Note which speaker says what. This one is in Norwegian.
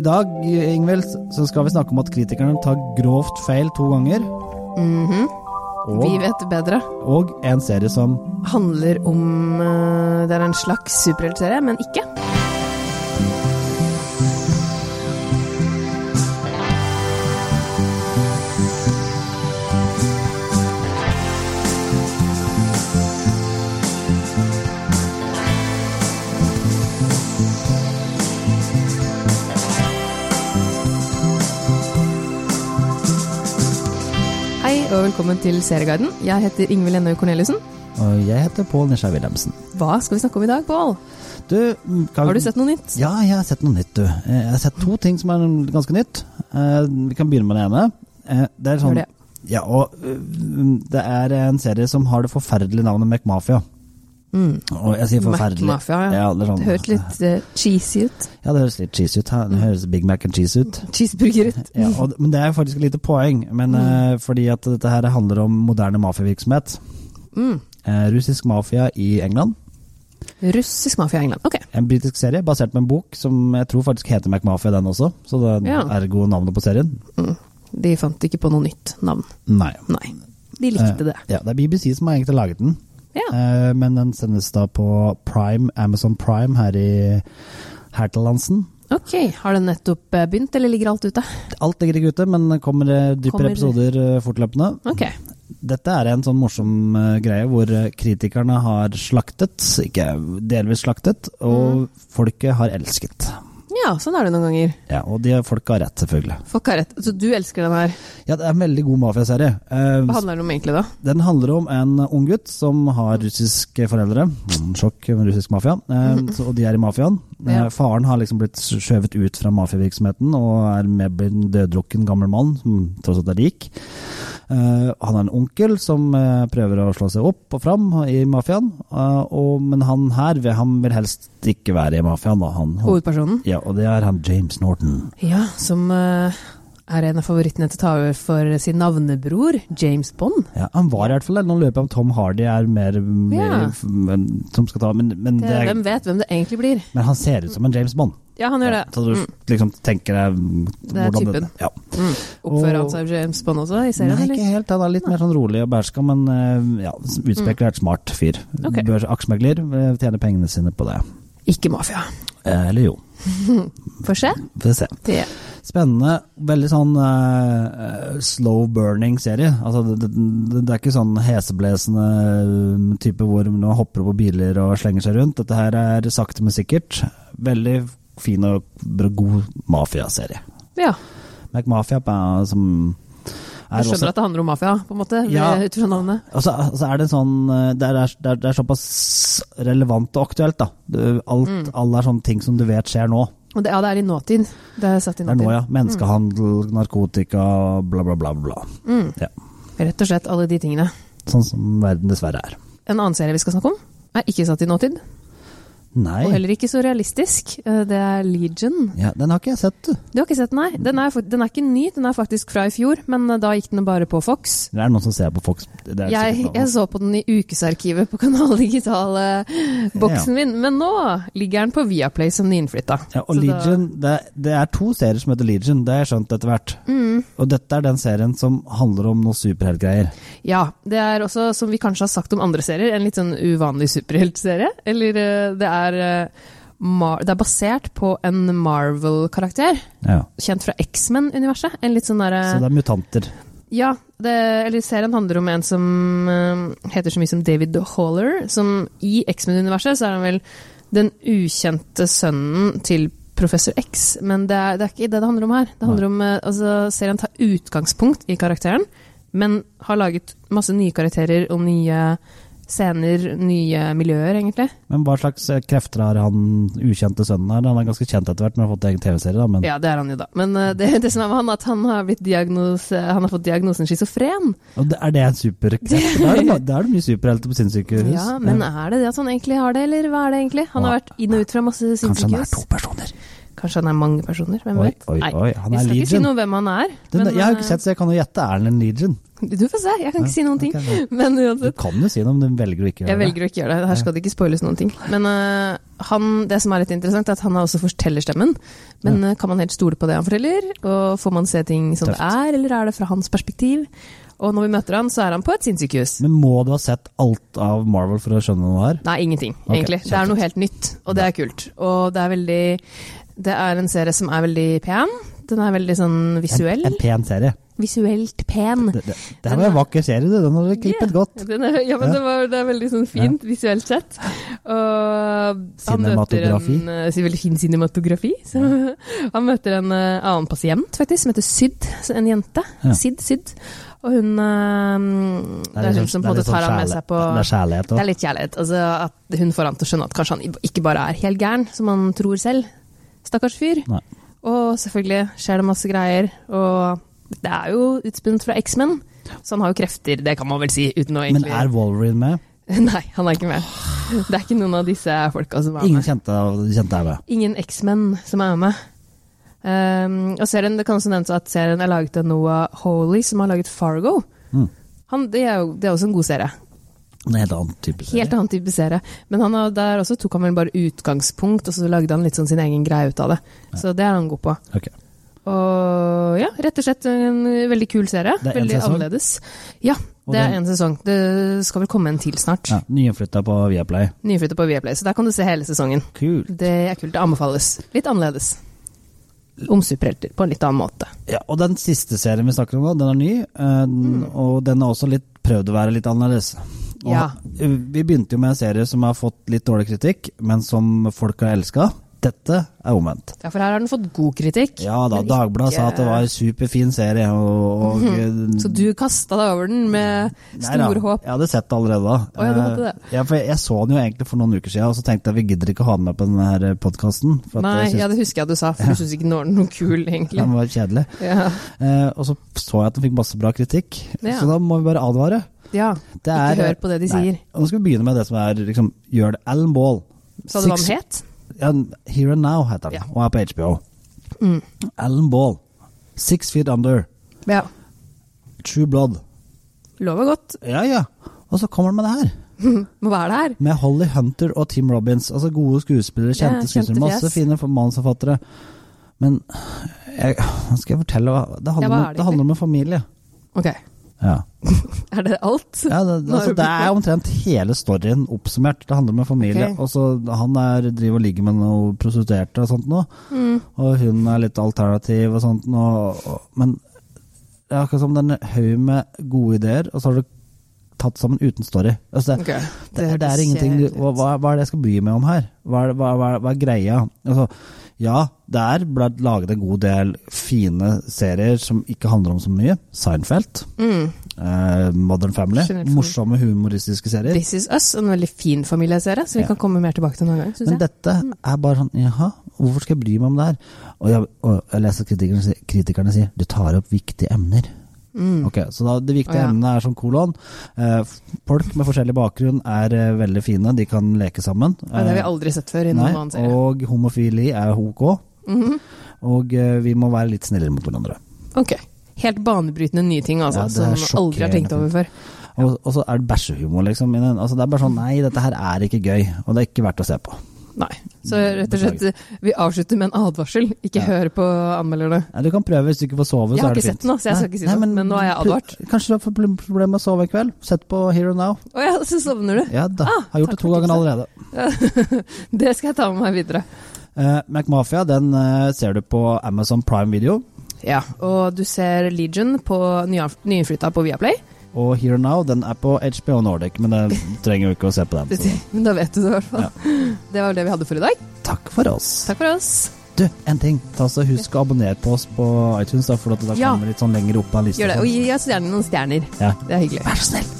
Speaker 1: I dag Ingvild, så skal vi snakke om at kritikerne tar grovt feil to ganger.
Speaker 2: Mhm. Vi
Speaker 1: Og,
Speaker 2: vet bedre.
Speaker 1: og en serie som
Speaker 2: Handler om eh, Det er en slags superheltserie, men ikke. Hei og velkommen til Serieguiden. Jeg heter Ingvild Ennøy Corneliussen.
Speaker 1: Og jeg heter Pål Nisja Wilhelmsen.
Speaker 2: Hva skal vi snakke om i dag, Pål?
Speaker 1: Du, kan,
Speaker 2: Har du sett noe nytt?
Speaker 1: Ja, jeg har sett noe nytt, du. Eh, Jeg har sett to ting som er ganske nytt. Eh, Vi kan begynne med det ene. Eh, Det er
Speaker 2: Gjør
Speaker 1: sånn
Speaker 2: det.
Speaker 1: Ja, og eh, det er en serie som har det forferdelige navnet McMafia.
Speaker 2: Mm.
Speaker 1: Og jeg sier forferdelig.
Speaker 2: McMafia, ja.
Speaker 1: Ja, det, er sånn,
Speaker 2: Det hørtes litt eh, cheesy ut.
Speaker 1: ja, det høres litt cheese ut. her. Det høres Big Mac and cheese ut.
Speaker 2: Cheeseburger ut.
Speaker 1: Ja, og, men det er faktisk et lite poeng, men, eh, fordi at dette her handler om moderne mafiavirksomhet.
Speaker 2: Mm.
Speaker 1: Eh, russisk mafia i England.
Speaker 2: Russisk mafia i England. Ok.
Speaker 1: En britisk serie basert på en bok som jeg tror faktisk heter MacMafia, den også. Så det
Speaker 2: Ja.
Speaker 1: er gode navnet på serien.
Speaker 2: Mm. De fant ikke på noe nytt navn.
Speaker 1: Nei. Eh,
Speaker 2: Nei. De likte det.
Speaker 1: Ja, det er BBC som har egentlig laget den.
Speaker 2: Eh, Ja.
Speaker 1: Eh, men den sendes da på Prime, Amazon Prime her, i, her til landsen.
Speaker 2: Ok. Har den nettopp eh, begynt, eller ligger alt ute?
Speaker 1: Alt ligger ikke ute, men det kommer eh, dypere
Speaker 2: Kommer-
Speaker 1: episoder eh, fortløpende.
Speaker 2: Ok.
Speaker 1: Dette er en sånn morsom eh, greie hvor eh, kritikerne har slaktet, ikke delvis slaktet, og folket har elsket.
Speaker 2: Ja, sånn er det noen ganger.
Speaker 1: Ja, og de folket har rett, selvfølgelig.
Speaker 2: Folk har rett. Så du elsker den her.
Speaker 1: Ja, det er en veldig god mafiaserie. Eh,
Speaker 2: Hva handler den om egentlig, da?
Speaker 1: Den handler om en ung gutt som har russiske foreldre. Mm, Sjokk med russisk mafia. Eh, så- Og de er i mafiaen. Eh,
Speaker 2: Ja.
Speaker 1: Faren har liksom blitt skjøvet ut fra mafiavirksomheten og er med blitt en døddrukken gammel mann som tross alt er rik. Eh, Han har en onkel som eh, prøver å slå seg opp og fram i mafiaen, eh, og- men han her vil, han vil helst ikke være i mafiaen. da. Han,
Speaker 2: Hovedpersonen?
Speaker 1: ja, og det er han James Norton.
Speaker 2: Ja, som eh, er en av favorittene til å ta over for sin navnebror, James Bond.
Speaker 1: Ja, han var i hvert fall der. Nå løper jeg om Tom Hardy er mer,
Speaker 2: Ja.
Speaker 1: mer men, som skal ta men, men,
Speaker 2: Det,
Speaker 1: det er,
Speaker 2: Hvem vet hvem det egentlig blir?
Speaker 1: men han ser ut som en James Bond.
Speaker 2: Ja, han gjør det. Mm.
Speaker 1: Så du liksom tenker deg mm,
Speaker 2: Det er
Speaker 1: hvordan
Speaker 2: typen.
Speaker 1: ja.
Speaker 2: Mm. Oppfører
Speaker 1: Og-
Speaker 2: han seg som James Bond også i serien,
Speaker 1: Nei,
Speaker 2: eller?
Speaker 1: ikke helt. Han er litt mer sånn rolig og bærska, men eh, ja, utspekulert smart fyr.
Speaker 2: Mm. Ok.
Speaker 1: Børs- Aksjemegler eh, tjener pengene sine på det.
Speaker 2: Ikke mafia.
Speaker 1: Eh, Eller jo,
Speaker 2: Får se.
Speaker 1: vi får se.
Speaker 2: Det.
Speaker 1: Spennende. Veldig sånn eh, eh, slow burning serie. Altså, det, det, det er ikke sånn heseblesende eh, type hvor man hopper opp på biler og slenger seg rundt. Dette her er sakte, men sikkert. Veldig fin og br- god mafiaserie.
Speaker 2: Ja.
Speaker 1: MacMafia er som er
Speaker 2: Jeg skjønner
Speaker 1: også
Speaker 2: at det handler om mafia, på en måte,
Speaker 1: Ja.
Speaker 2: ved- ut fra navnet.
Speaker 1: og så, og så er det sånn eh, det er, det, er, det er såpass relevant og aktuelt, da. Det- Alt,
Speaker 2: Mm.
Speaker 1: Alle er sånne ting som du vet skjer nå.
Speaker 2: Og det, ja, det er i nåtid. Det er satt i
Speaker 1: Det er
Speaker 2: nåtid.
Speaker 1: nå, ja. Menneskehandel, narkotika, bla, bla, bla. bla.
Speaker 2: Mm.
Speaker 1: Ja.
Speaker 2: Rett og slett alle de tingene.
Speaker 1: Sånn som verden dessverre er.
Speaker 2: En annen serie vi skal snakke om, er ikke satt i nåtid,
Speaker 1: Nei.
Speaker 2: og heller ikke så realistisk. Eh, Det er Legion.
Speaker 1: Ja, den har ikke jeg sett, du.
Speaker 2: Du har ikke sett den, nei? Den er, fak- den er ikke ny, den er faktisk fra i fjor, men eh, da gikk den bare på Fox.
Speaker 1: Det er noen som ser på Fox. Det er
Speaker 2: Jeg,
Speaker 1: sikkert noen.
Speaker 2: jeg så på den i ukesarkivet på Kanal Digital-boksen min, men nå ligger den på Viaplay som nyinnflytta.
Speaker 1: ja, og
Speaker 2: Så da-
Speaker 1: Legion, det, det er to serier som heter Legion, det har jeg skjønt etter hvert.
Speaker 2: Mm.
Speaker 1: Og dette er den serien som handler om noe superheltgreier.
Speaker 2: Ja, det er også, som vi kanskje har sagt om andre serier, en litt sånn uvanlig superheltserie. Eller eh, det er, eh, Mar det er basert på en Marvel-karakter,
Speaker 1: Ja.
Speaker 2: kjent fra X-Men-universet. En litt sånn derre
Speaker 1: Så det er mutanter.
Speaker 2: Ja, det, eller serien handler om en som eh, heter så mye som David Haller, som i X-Men-universet så er han vel den ukjente sønnen til Professor X, men det er, det er ikke det det handler om her. Det handler om, eh, altså, Serien tar utgangspunkt i karakteren, men har laget masse nye karakterer og nye scener, nye miljøer, egentlig.
Speaker 1: Men hva slags eh, krefter har han ukjente sønnen her? Han er ganske kjent etter hvert, men har fått egen TV-serie, da. Men
Speaker 2: Ja, det er han jo, da. Men eh, det, det som er med han, er at han har, blitt diagnos, han har fått diagnosen schizofren.
Speaker 1: Og det- er det en superkreft? Da er det, ma- da er det mye superhelter på sinnssykehus.
Speaker 2: Ja, men er det det at han egentlig har det, eller hva er det egentlig? Han har vært inn og ut fra masse
Speaker 1: Kanskje han er
Speaker 2: sinnssykehus.
Speaker 1: to personer.
Speaker 2: Kanskje, Kanskje han er mange personer? Hvem
Speaker 1: Oi,
Speaker 2: vet?
Speaker 1: oi,
Speaker 2: Nei.
Speaker 1: oi. Han
Speaker 2: Vi
Speaker 1: er
Speaker 2: skal ikke si
Speaker 1: Legion.
Speaker 2: noe om hvem han er.
Speaker 1: Den,
Speaker 2: men,
Speaker 1: jeg har jo
Speaker 2: eh,
Speaker 1: ikke sett, så jeg kan jo gjette er den en Legion.
Speaker 2: Du får se, jeg kan ikke si noen ting.
Speaker 1: Ok,
Speaker 2: Men uansett.
Speaker 1: Du kan jo si noe, men du velger å ikke
Speaker 2: Jeg
Speaker 1: gjøre det.
Speaker 2: velger å ikke gjøre det. Her skal det ikke spoiles noen ting. Men øh, han, det som er litt interessant, er at han har også fortellerstemmen. Men øh, kan man helt stole på det han forteller? Og får man se ting som det er, eller er det fra hans perspektiv? Og når vi møter han, så er han på et sinnssykehus.
Speaker 1: Men må du ha sett alt av Marvel for å skjønne noe her?
Speaker 2: Nei, ingenting,
Speaker 1: Ok,
Speaker 2: egentlig. Det er noe helt nytt, og det er kult. Og det er veldig Det er en serie som er veldig pen. Den er veldig sånn visuell.
Speaker 1: En pen serie.
Speaker 2: Visuelt pen.
Speaker 1: Det, det, det her var en vakker serie, du. Den hadde du klippet godt.
Speaker 2: Den er, ja, men
Speaker 1: Ja.
Speaker 2: Det, var, det er veldig sånn fint visuelt sett. Og han møter
Speaker 1: Cinematografi.
Speaker 2: en eh, si- Veldig fin cinematografi. Så, han møter en eh, annen pasient, faktisk, som heter Syd. så En jente.
Speaker 1: Ja.
Speaker 2: Syd, Syd. Og hun eh, Det er
Speaker 1: litt
Speaker 2: hun
Speaker 1: sånn-
Speaker 2: som
Speaker 1: det er
Speaker 2: på en måte
Speaker 1: litt sånn
Speaker 2: tar han med
Speaker 1: kjærlighet-
Speaker 2: seg på
Speaker 1: Det er kjærlighet
Speaker 2: Det
Speaker 1: òg.
Speaker 2: er litt kjærlighet. Altså, at hun får han til å skjønne at kanskje han ikke bare er helt gæren, som han tror selv. Stakkars fyr.
Speaker 1: Nei.
Speaker 2: Og selvfølgelig skjer det masse greier. Og det er jo utspunnet fra X-Men, så han har jo krefter, det kan man vel si. uten å
Speaker 1: Men
Speaker 2: egentlig...
Speaker 1: er Wolverine med?
Speaker 2: Nei, han er ikke med. Det er ikke noen av disse folka som er
Speaker 1: Ingen
Speaker 2: med.
Speaker 1: kjente, kjente er med.
Speaker 2: Ingen X-menn som er med. Ehm, og serien, Det kan også nevnes at serien er laget av Noah Holy, som har laget Fargo.
Speaker 1: Mm.
Speaker 2: Han, det, er jo, det er også en god serie.
Speaker 1: En helt annen type serie.
Speaker 2: Helt annen type serie. Men han har, der også tok han vel bare utgangspunkt, og så lagde han litt sånn sin egen greie ut av det. Så det er han god på.
Speaker 1: Ok.
Speaker 2: Og ja, rett og slett en veldig kul serie.
Speaker 1: Det er en
Speaker 2: veldig
Speaker 1: sesong?
Speaker 2: annerledes. Ja,
Speaker 1: Og
Speaker 2: det er
Speaker 1: den-
Speaker 2: én sesong. Det skal vel komme en til snart.
Speaker 1: Ja, Nyinnflytta på Viaplay.
Speaker 2: Nyflyttet på Viaplay, så der kan du se hele sesongen.
Speaker 1: Kult.
Speaker 2: Det er kult. Det anbefales. Litt annerledes. Om superhelter, på en litt annen måte.
Speaker 1: Ja, og den siste serien vi snakker om nå, den er ny, eh, den- og den har også litt prøvd å være litt annerledes. Og
Speaker 2: Mm. Ja.
Speaker 1: ha- Vi begynte jo med en serie som har fått litt dårlig kritikk, men som folk har elska. Dette er omvendt.
Speaker 2: Ja, for her har den fått god kritikk.
Speaker 1: Ja da,
Speaker 2: men
Speaker 1: Dagbladet sa at det var en superfin serie, og, og
Speaker 2: Så du kasta deg over den med
Speaker 1: Nei da,
Speaker 2: store håp?
Speaker 1: Jeg hadde sett det allerede da.
Speaker 2: Å, ja, du hadde det.
Speaker 1: Eh, Ja, for jeg, jeg så den jo egentlig for noen uker siden, og så tenkte jeg vi gidder ikke å ha den med på denne podkasten.
Speaker 2: Nei,
Speaker 1: jeg
Speaker 2: ja,
Speaker 1: syntes
Speaker 2: det husker jeg du sa, for du syns ikke den var noe kul, egentlig.
Speaker 1: den var kjedelig.
Speaker 2: Ja.
Speaker 1: Eh, og så så jeg at den fikk masse bra kritikk,
Speaker 2: Ja.
Speaker 1: så da må vi bare advare.
Speaker 2: ja.
Speaker 1: Det
Speaker 2: Ikke
Speaker 1: er-
Speaker 2: hør på det de
Speaker 1: Nei.
Speaker 2: sier.
Speaker 1: Og nå skal vi begynne med det som er liksom, gjør det. Alan Ball.
Speaker 2: Sa du hva
Speaker 1: Six-
Speaker 2: den het?
Speaker 1: Ja, Here and Now heter den,
Speaker 2: Ja.
Speaker 1: og er på HBO. Mm. Alan Ball. Six Feet Under.
Speaker 2: Ja.
Speaker 1: True Blood.
Speaker 2: Lover godt.
Speaker 1: Ja, ja. Og så kommer han med det her.
Speaker 2: Må være der.
Speaker 1: Med Holly Hunter og Tim Robins. Altså gode skuespillere,
Speaker 2: Ja,
Speaker 1: kjente
Speaker 2: kjente
Speaker 1: skuespillere. Masse
Speaker 2: fjes.
Speaker 1: fine manusforfattere. Men jeg, hva skal jeg fortelle hva Det handler,
Speaker 2: Ja, hva
Speaker 1: om-
Speaker 2: er det
Speaker 1: det handler om en familie.
Speaker 2: Ok.
Speaker 1: Ja.
Speaker 2: Er det alt?
Speaker 1: Ja, det,
Speaker 2: Nå har
Speaker 1: altså,
Speaker 2: vi
Speaker 1: det er omtrent hele storyen oppsummert. Det handler om en familie.
Speaker 2: Ok.
Speaker 1: Og så Han er, driver og ligger med noen prostituerte og sånt nå.
Speaker 2: Mm.
Speaker 1: Og hun er litt alternativ og sånt nå. Og, men det er akkurat som den haug med gode ideer, og så har du tatt sammen uten story. Altså, det,
Speaker 2: Ok.
Speaker 1: det, det,
Speaker 2: høres
Speaker 1: er ingenting du,
Speaker 2: kjedelig ut.
Speaker 1: hva, hva- hva er det jeg skal bry meg om her? Hva er, det- hva, hva, hva er greia? Altså, ja, det er bl- laget en god del fine serier som ikke handler om så mye. Seinfeld.
Speaker 2: Mm.
Speaker 1: Eh, Modern Family.
Speaker 2: Generelt for-
Speaker 1: Morsomme humoristiske serier.
Speaker 2: This Is Us, en veldig fin familieserie, så vi
Speaker 1: Ja.
Speaker 2: kan komme mer tilbake til noen gang. Synes
Speaker 1: Men
Speaker 2: jeg.
Speaker 1: dette er bare sånn Jaha, hvorfor skal jeg bry meg om det her? Og jeg, og jeg leser kritikerne, si- kritikerne sier du tar opp viktige emner.
Speaker 2: Mm.
Speaker 1: Ok, Så da, det viktige
Speaker 2: Å, ja.
Speaker 1: emnet er som kolon. Eh, f- folk med forskjellig bakgrunn er eh, veldig fine, de kan leke sammen.
Speaker 2: Ja, det har vi aldri sett før i noen annen
Speaker 1: eh, Nei,
Speaker 2: serie.
Speaker 1: og homofili er OK.
Speaker 2: Mhm.
Speaker 1: Og eh, vi må være litt snillere mot hverandre.
Speaker 2: Ok. Helt banebrytende nye ting, altså,
Speaker 1: Ja, det er
Speaker 2: som man aldri har tenkt over før.
Speaker 1: Og, og så er det bæsjehumor, liksom. i den. Altså, det er bare sånn Nei, dette her er ikke gøy, og det er ikke verdt å se på.
Speaker 2: Nei. Så rett og slett, vi avslutter med en advarsel. Ikke
Speaker 1: Mm, Ja.
Speaker 2: hør på anmelderne.
Speaker 1: Ja, du kan prøve hvis du ikke får sove.
Speaker 2: Jeg
Speaker 1: så
Speaker 2: har
Speaker 1: er det
Speaker 2: ikke
Speaker 1: fint.
Speaker 2: sett den, så jeg skal ikke si noe, men nå er jeg
Speaker 1: pl-
Speaker 2: advart.
Speaker 1: Kanskje du har proble- problemer med å sove en kveld? Sett på Hero Now.
Speaker 2: Å ja, så sovner du.
Speaker 1: Ja da,
Speaker 2: Ah,
Speaker 1: har gjort det
Speaker 2: takk
Speaker 1: to
Speaker 2: for
Speaker 1: ganger
Speaker 2: tipset.
Speaker 1: allerede.
Speaker 2: Det skal jeg ta med meg videre.
Speaker 1: Eh, MacMafia den eh, ser du på Amazon Prime Video.
Speaker 2: Ja, Og du ser Legion på nyanf- nyinnflytta på Viaplay.
Speaker 1: Og Hero Now den er på HBO Nordic, men det trenger jo ikke å se på den. Så.
Speaker 2: Men da vet du det i hvert fall. Det var det vi hadde for i dag.
Speaker 1: Takk for oss.
Speaker 2: Takk for oss.
Speaker 1: Du, en ting. Ta så Husk å abonnere på oss på iTunes, da, for at da
Speaker 2: Ja.
Speaker 1: kommer vi litt sånn lenger opp av lista.
Speaker 2: Gjør det. Og gi oss gjerne noen stjerner.
Speaker 1: Ja.
Speaker 2: Det er hyggelig.
Speaker 1: Vær så snill.